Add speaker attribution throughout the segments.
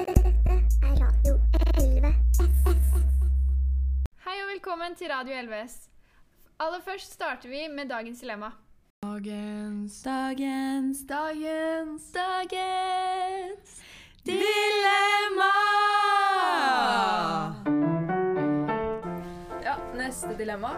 Speaker 1: Radio 11.
Speaker 2: Hei og velkommen til Radio LVS. Aller først starter vi med dagens dilemma.
Speaker 3: Dagens, dagens, dagens, dagens dilemma!
Speaker 4: Ja, neste dilemma.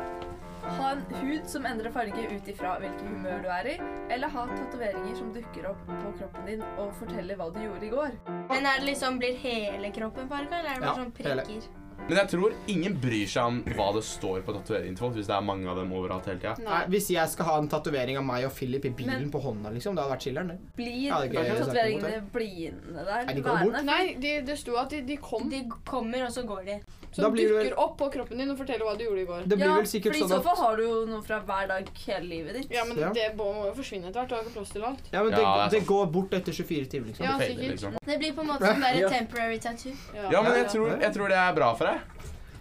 Speaker 4: Ha en hud som endrer farge ut ifra hvilket humør du er i, eller ha tatoveringer som dukker opp på kroppen din og forteller hva du gjorde i går.
Speaker 5: Men er det liksom, blir hele kroppen farga, eller er det bare
Speaker 6: Ja,
Speaker 5: sånn
Speaker 6: hele.
Speaker 5: prikker?
Speaker 7: Men jeg tror ingen bryr seg om hva det står på tatoveringene til folk, hvis det er mange av dem overalt hele tida.
Speaker 6: Nei, hvis jeg skal ha en tatovering av meg og Philip i bilen på hånda, liksom, det hadde vært chiller'n. det.
Speaker 4: Blir
Speaker 6: Ja, det er gøy å snakke om
Speaker 4: tatoveringene blidende der?
Speaker 6: Er de gått bort?
Speaker 4: værende?
Speaker 3: Nei, de, det sto at de, de kom,
Speaker 5: De kommer, og så går de.
Speaker 6: Da
Speaker 3: som
Speaker 6: blir du-
Speaker 3: dukker opp på kroppen din og forteller hva du gjorde i går.
Speaker 6: Det blir
Speaker 4: Ja,
Speaker 6: vel sikkert
Speaker 4: fordi i
Speaker 6: sånn
Speaker 4: så
Speaker 6: at
Speaker 4: fall har du jo noe fra hver dag hele livet ditt.
Speaker 3: Ja, men
Speaker 6: Ja.
Speaker 3: det må må jo forsvinne etter hvert. Du har ikke plass til alt.
Speaker 6: Ja, men det,
Speaker 7: Ja, altså. det er
Speaker 6: det går bort etter 24 timer, liksom.
Speaker 3: Ja,
Speaker 7: Fader,
Speaker 3: sikkert.
Speaker 7: liksom.
Speaker 5: Det blir på en måte som
Speaker 6: Ja.
Speaker 5: bare temporary tattoo.
Speaker 7: ja men jeg tror, jeg tror det er bra for deg.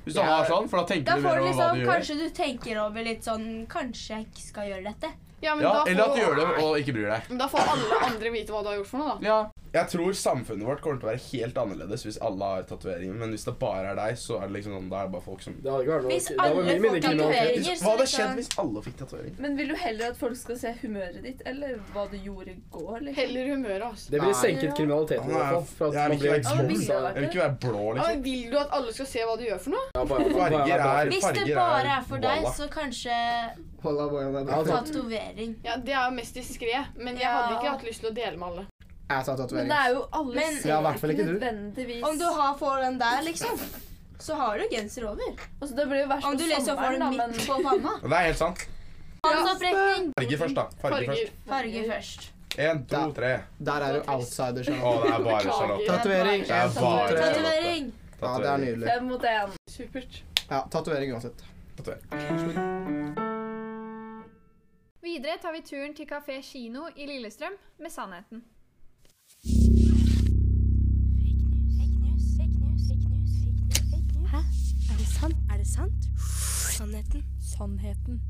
Speaker 7: Hvis du
Speaker 6: Ja.
Speaker 7: har sånn, for da
Speaker 5: Da
Speaker 7: tenker
Speaker 5: får
Speaker 7: du mer
Speaker 5: du
Speaker 7: over hva
Speaker 5: liksom,
Speaker 7: du gjør.
Speaker 5: Kanskje du tenker over litt sånn Kanskje jeg ikke skal gjøre dette.
Speaker 3: Ja, men
Speaker 7: Ja,
Speaker 3: da
Speaker 7: eller at du
Speaker 3: får-
Speaker 7: gjør det og ikke bryr deg.
Speaker 3: Men da får alle andre vite hva du har gjort for noe, da.
Speaker 7: Ja. Jeg tror samfunnet vårt kommer til å være helt annerledes hvis alle har tatoveringer, men hvis det bare er deg, så er det liksom sånn, da er det bare folk som
Speaker 8: Det hadde ikke vært noe
Speaker 5: Hvis
Speaker 8: Det var
Speaker 5: alle
Speaker 8: mye
Speaker 5: får
Speaker 8: mindre kriminalitet.
Speaker 5: tatoveringer,
Speaker 7: Hva
Speaker 5: så
Speaker 7: hadde skjedd
Speaker 5: liksom
Speaker 7: hvis alle fikk tatovering?
Speaker 4: Men vil du heller at folk skal se humøret ditt, eller hva du gjorde i går? Liksom?
Speaker 3: Heller humøret, altså.
Speaker 8: Det ville
Speaker 6: Nei.
Speaker 8: senket kriminaliteten i
Speaker 7: Ja,
Speaker 8: hvert fall. For
Speaker 7: jeg
Speaker 8: at man
Speaker 7: vil
Speaker 8: blir
Speaker 7: ikke
Speaker 4: Ja,
Speaker 8: exposed.
Speaker 4: men ville det vært
Speaker 7: Jeg vil
Speaker 4: det?
Speaker 7: ikke være blå,
Speaker 3: Ja,
Speaker 7: liksom.
Speaker 3: men vil du at alle skal se hva du gjør for noe?
Speaker 8: Ja, bare- bare-
Speaker 7: Farger
Speaker 8: bare-
Speaker 7: er
Speaker 5: Hvis det
Speaker 7: farger
Speaker 5: bare er for deg,
Speaker 7: Walla.
Speaker 5: så kanskje
Speaker 6: Voilà, voilà,
Speaker 8: Ja,
Speaker 6: voilà.
Speaker 8: sant.
Speaker 5: tatovering.
Speaker 3: Ja, Det er jo mest diskré, men jeg
Speaker 5: Ja.
Speaker 3: hadde ikke hatt lyst til å dele med alle.
Speaker 6: Jeg tar
Speaker 4: Men
Speaker 6: tatovering.
Speaker 4: det er jo alle
Speaker 5: Men-
Speaker 4: ser
Speaker 6: Ja, i hvert fall ikke du.
Speaker 4: nødvendigvis
Speaker 5: Om du har, får den der, liksom, så har du genser over.
Speaker 4: altså, Det blir jo verst
Speaker 5: Om du
Speaker 4: på
Speaker 5: liksom får
Speaker 4: sommeren,
Speaker 5: den
Speaker 4: da,
Speaker 5: midt
Speaker 4: men
Speaker 5: på panna.
Speaker 7: Det er helt sant.
Speaker 5: Håndsopprekning.
Speaker 7: Farger først, da. Farger først.
Speaker 3: Farger.
Speaker 5: Farge først.
Speaker 7: Én, to, tre.
Speaker 6: Der er du outsider,
Speaker 7: Å,
Speaker 6: Charlotte.
Speaker 7: det er bare Charlotte.
Speaker 6: Tatovering.
Speaker 7: Det er bare
Speaker 5: Tatovering.
Speaker 6: Ja, det er nydelig.
Speaker 4: fem mot én.
Speaker 3: Supert.
Speaker 6: Ja, tatovering uansett.
Speaker 2: Videre tar vi turen til Kafé Kino i Lillestrøm med sannheten.
Speaker 9: Fake news, fake news, fake news, fake news, fake news. Hæ? Er det sant? Er det sant? Sannheten. Sannheten.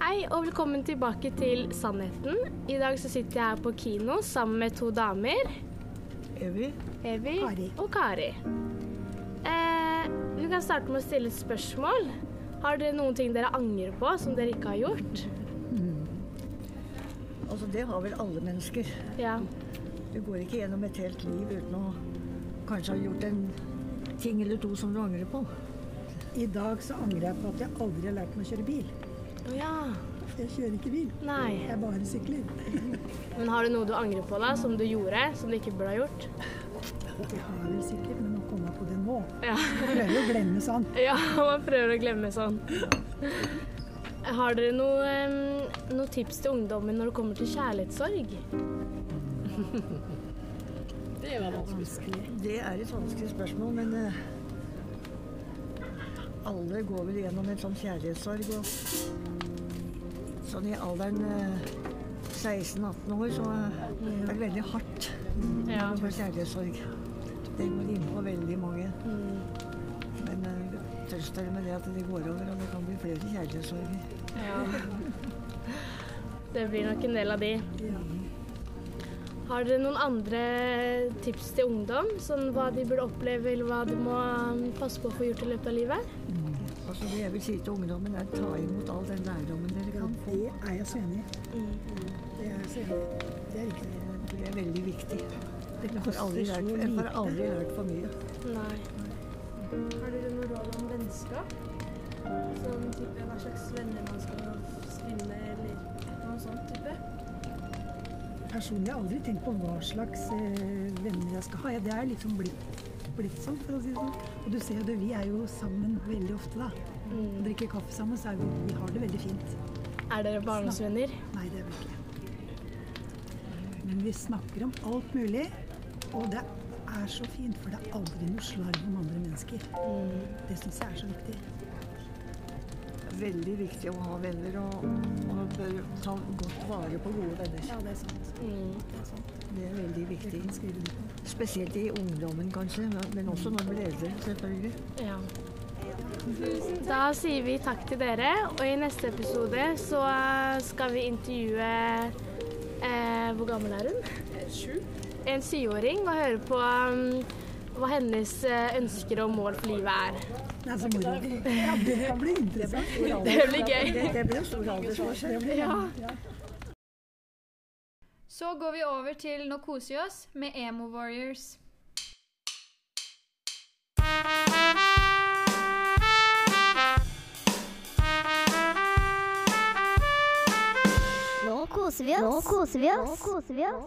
Speaker 10: Hei og velkommen tilbake til Sannheten. I dag så sitter jeg her på kino sammen med to damer. Evy, og Kari. Eh, vi kan starte med å stille et spørsmål. Har dere noen ting dere angrer på som dere ikke har gjort?
Speaker 11: Altså, det har vel alle mennesker.
Speaker 10: Ja.
Speaker 11: Du går ikke gjennom et helt liv uten å kanskje ha gjort en ting eller to som du angrer på. I dag så angrer jeg på at jeg aldri har lært meg å kjøre bil.
Speaker 10: Å ja.
Speaker 11: Jeg kjører ikke bil,
Speaker 10: Nei.
Speaker 11: jeg bare sykler.
Speaker 10: Men har du noe du angrer på da, som du gjorde, som du ikke burde ha gjort?
Speaker 11: Jeg har vel sikkert, men å komme på det nå
Speaker 10: Ja.
Speaker 11: Jeg prøver å glemme sånn.
Speaker 10: Ja, man prøver å glemme sånn. Har dere noe, em, noe tips til ungdommen når det kommer til kjærlighetssorg?
Speaker 11: Vanskelig. Det er et vanskelig spørsmål, men eh, alle går vel gjennom en sånn kjærlighetssorg. Og sånn i alderen eh, 16-18 år så eh, er det veldig hardt
Speaker 10: Ja.
Speaker 11: for kjærlighetssorg. Det går inn på veldig mange. Men eh, trøst dere med det at det går over, og det kan bli flere kjærlighetssorger.
Speaker 10: Det blir nok en del av de. Har dere noen andre tips til ungdom? Sånn hva de burde oppleve, eller hva de må em, passe på å få gjort i løpet av livet?
Speaker 11: Altså, det jeg vil si til ungdommen, er ta imot all den lærdommen dere kan få. Det er jeg så enig i. Det er jeg så enig i. Det er riktig. Det er veldig viktig. Jeg har aldri lært, jeg har aldri lært for mye.
Speaker 10: Nei.
Speaker 9: Har dere noe råd om vennskap? Sånn type hva slags venner man skal finne, eller noe sånt type?
Speaker 11: Personlig har jeg aldri tenkt på hva slags eh, venner jeg skal ha. Ja, Det er liksom blitt, blitt sånn, for å si det sånn. Og du ser jo det, vi er jo sammen veldig ofte, da. Og drikker kaffe sammen, så er vi, vi har det veldig fint.
Speaker 10: Mm. Er dere barndomsvenner?
Speaker 11: Nei, det er vi ikke. Men vi snakker om alt mulig, og det er så fint, for det er aldri noe slarv om andre mennesker.
Speaker 10: Mm.
Speaker 11: Det syns jeg er så viktig. Veldig viktig å ha venner, og, og ta godt vare på gode venner. Ja, det er sant.
Speaker 10: Mm.
Speaker 11: Det er veldig viktig. Spesielt i ungdommen, kanskje, men- men også når man blir eldre, selvfølgelig.
Speaker 10: Ja. Da sier vi takk til dere, og i neste episode så eh, skal vi intervjue eh,
Speaker 12: eh, Hvor gammel er hun?
Speaker 13: Eh,
Speaker 14: Sju.
Speaker 12: En syvåring og høre på um, hva hennes eh, ønsker og mål for livet er.
Speaker 15: Nei, så moro. Ja, det kan bli interessant.
Speaker 12: Det blir gøy.
Speaker 15: Det, det blir en stor aldersforskjell. Det blir-
Speaker 16: Så går vi over til Nå koser vi oss med Emo Warriors.
Speaker 17: Nå koser vi oss. Nå koser vi oss. Nå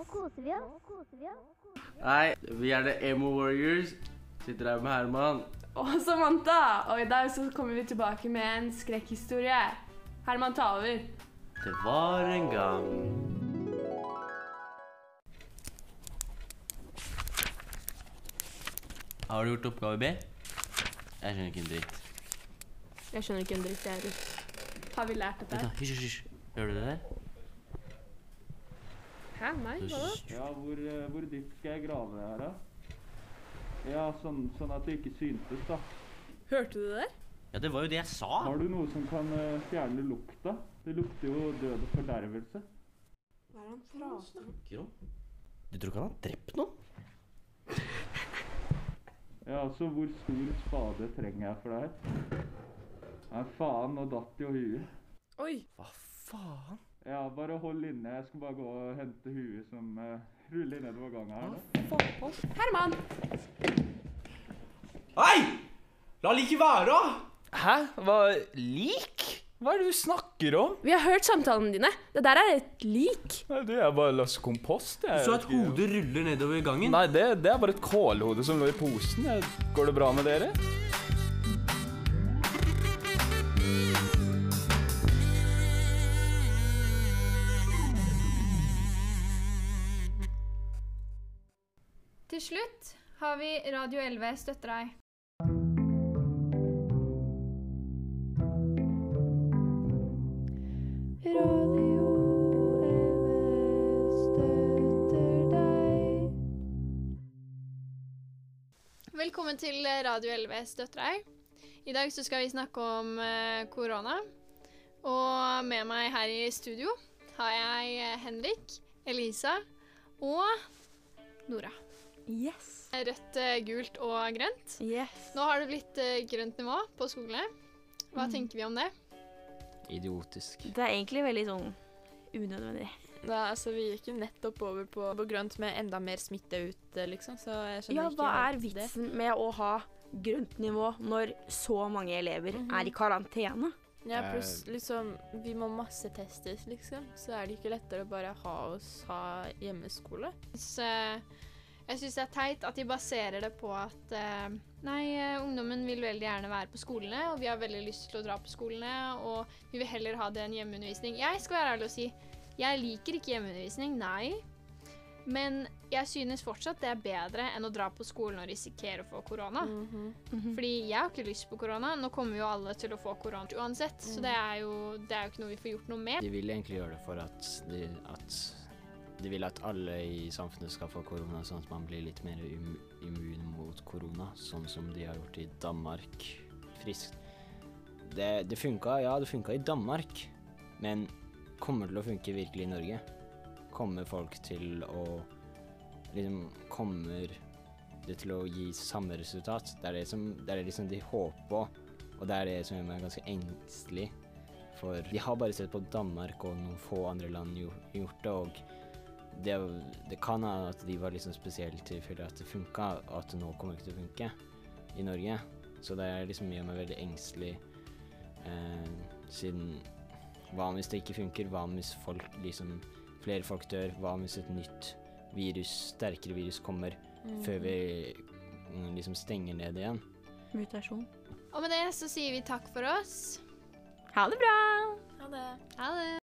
Speaker 17: koser vi oss.
Speaker 18: Nei, vi er The Emo Warriors. Sitter her med Herman.
Speaker 13: Og Samantha! Og i dag så kommer vi tilbake med en skrekkhistorie. Herman, ta over.
Speaker 18: Det var en gang Har du gjort oppgave B? Jeg skjønner ikke en dritt.
Speaker 13: Jeg skjønner ikke en dritt, jeg heller. Har vi lært
Speaker 18: Vent da,
Speaker 13: dette?
Speaker 18: hysj, hysj, hysj. Hører du det der?
Speaker 13: Hæ, nei?
Speaker 18: hva da?
Speaker 19: Ja, hvor, eh, hvor dypt skal jeg grave her, da? Ja, sånn, sånn at det ikke syntes, da.
Speaker 13: Hørte du det der?
Speaker 18: Ja, det var jo det jeg sa.
Speaker 19: Har du noe som kan eh, fjerne lukta? Det lukter jo død og fordervelse.
Speaker 13: Hva er det han prater om?
Speaker 18: Du tror ikke han har drept noen?
Speaker 19: Ja, altså, hvor stor spade trenger jeg for det her? Nei, faen, nå datt jo huet.
Speaker 13: Oi!
Speaker 18: Hva faen?
Speaker 19: Ja, bare hold inne. Jeg skal bare gå og hente huet som eh, ruller nedover gangen her nå.
Speaker 13: Herman!
Speaker 7: Hei! La liket være! Hæ? Hva Lik? Hva er det du snakker om?
Speaker 13: Vi har hørt samtalene dine. Det der er et lik.
Speaker 7: Nei, det er bare lass kompost.
Speaker 18: Du så at
Speaker 7: hodet ruller nedover gangen? Nei, det, det er bare et kålhode som lå i posen. Eh, Går det bra med dere?
Speaker 16: Til slutt har vi Radio 11 støtter deg.
Speaker 20: Velkommen til Radio 11 støtter deg. I dag så skal vi snakke om eh, korona. Og med meg her i studio har jeg eh, Henrik, Elisa og Nora.
Speaker 13: Yes.
Speaker 20: Rødt, eh, gult og grønt.
Speaker 13: Yes.
Speaker 20: Nå har det blitt eh, grønt nivå på skolene. Hva tenker vi om det?
Speaker 5: Idiotisk.
Speaker 4: Det er egentlig veldig sånn unødvendig.
Speaker 5: Da, altså, vi gikk jo nettopp over på, på grønt med enda mer smitte ut, eh, liksom. Så jeg skjønner
Speaker 4: Ja,
Speaker 5: ikke
Speaker 4: hva er
Speaker 5: helt det.
Speaker 4: vitsen med å ha grønt nivå når så mange elever
Speaker 5: Mhm.
Speaker 4: er i karantene?
Speaker 5: Ja, pluss liksom Vi må massetestes, liksom. Så er det ikke lettere å bare ha oss ha hjemmeskole.
Speaker 20: Så, eh, jeg syns det er teit at de baserer det på at eh, nei, eh, ungdommen vil veldig gjerne være på skolene, og vi har veldig lyst til å dra på skolene, og vi vil heller ha det enn hjemmeundervisning. Jeg skal være ærlig og si jeg liker ikke hjemmeundervisning, nei. Men jeg synes fortsatt det er bedre enn å dra på skolen og risikere å få korona. Fordi jeg har ikke lyst på korona. Nå kommer jo alle til å få korona uansett, så det er, jo, det er jo ikke noe vi får gjort noe med.
Speaker 5: De
Speaker 11: vil egentlig gjøre det for at de, at de vil at alle i samfunnet skal få korona, sånn at man blir litt mer im immun mot korona, sånn som de har gjort i Danmark. Friskt. Det, det funka, ja, det funka i Danmark, men kommer det til å funke virkelig i Norge? Kommer folk til å Liksom, kommer det til å gi samme resultat? Det er det, som, det er det liksom de håper på, og det er det som gjør meg ganske engstelig. For de har bare sett på Danmark og noen få andre land jo- gjort det, og det, det kan være at de var liksom spesielle tilfeller at det funka, og at det nå kommer ikke til å funke i Norge. Så det er liksom gjør meg veldig engstelig, eh, siden Hva om hvis det ikke funker? Hva om hvis folk liksom flere folk dør? Hva om hvis et nytt virus, sterkere virus, kommer
Speaker 20: Mm.
Speaker 11: før vi mm, liksom stenger ned igjen?
Speaker 4: liksom, Mutasjon.
Speaker 20: Og med det så sier vi takk for oss.
Speaker 4: Ha det bra!
Speaker 20: Ha det. Ha det.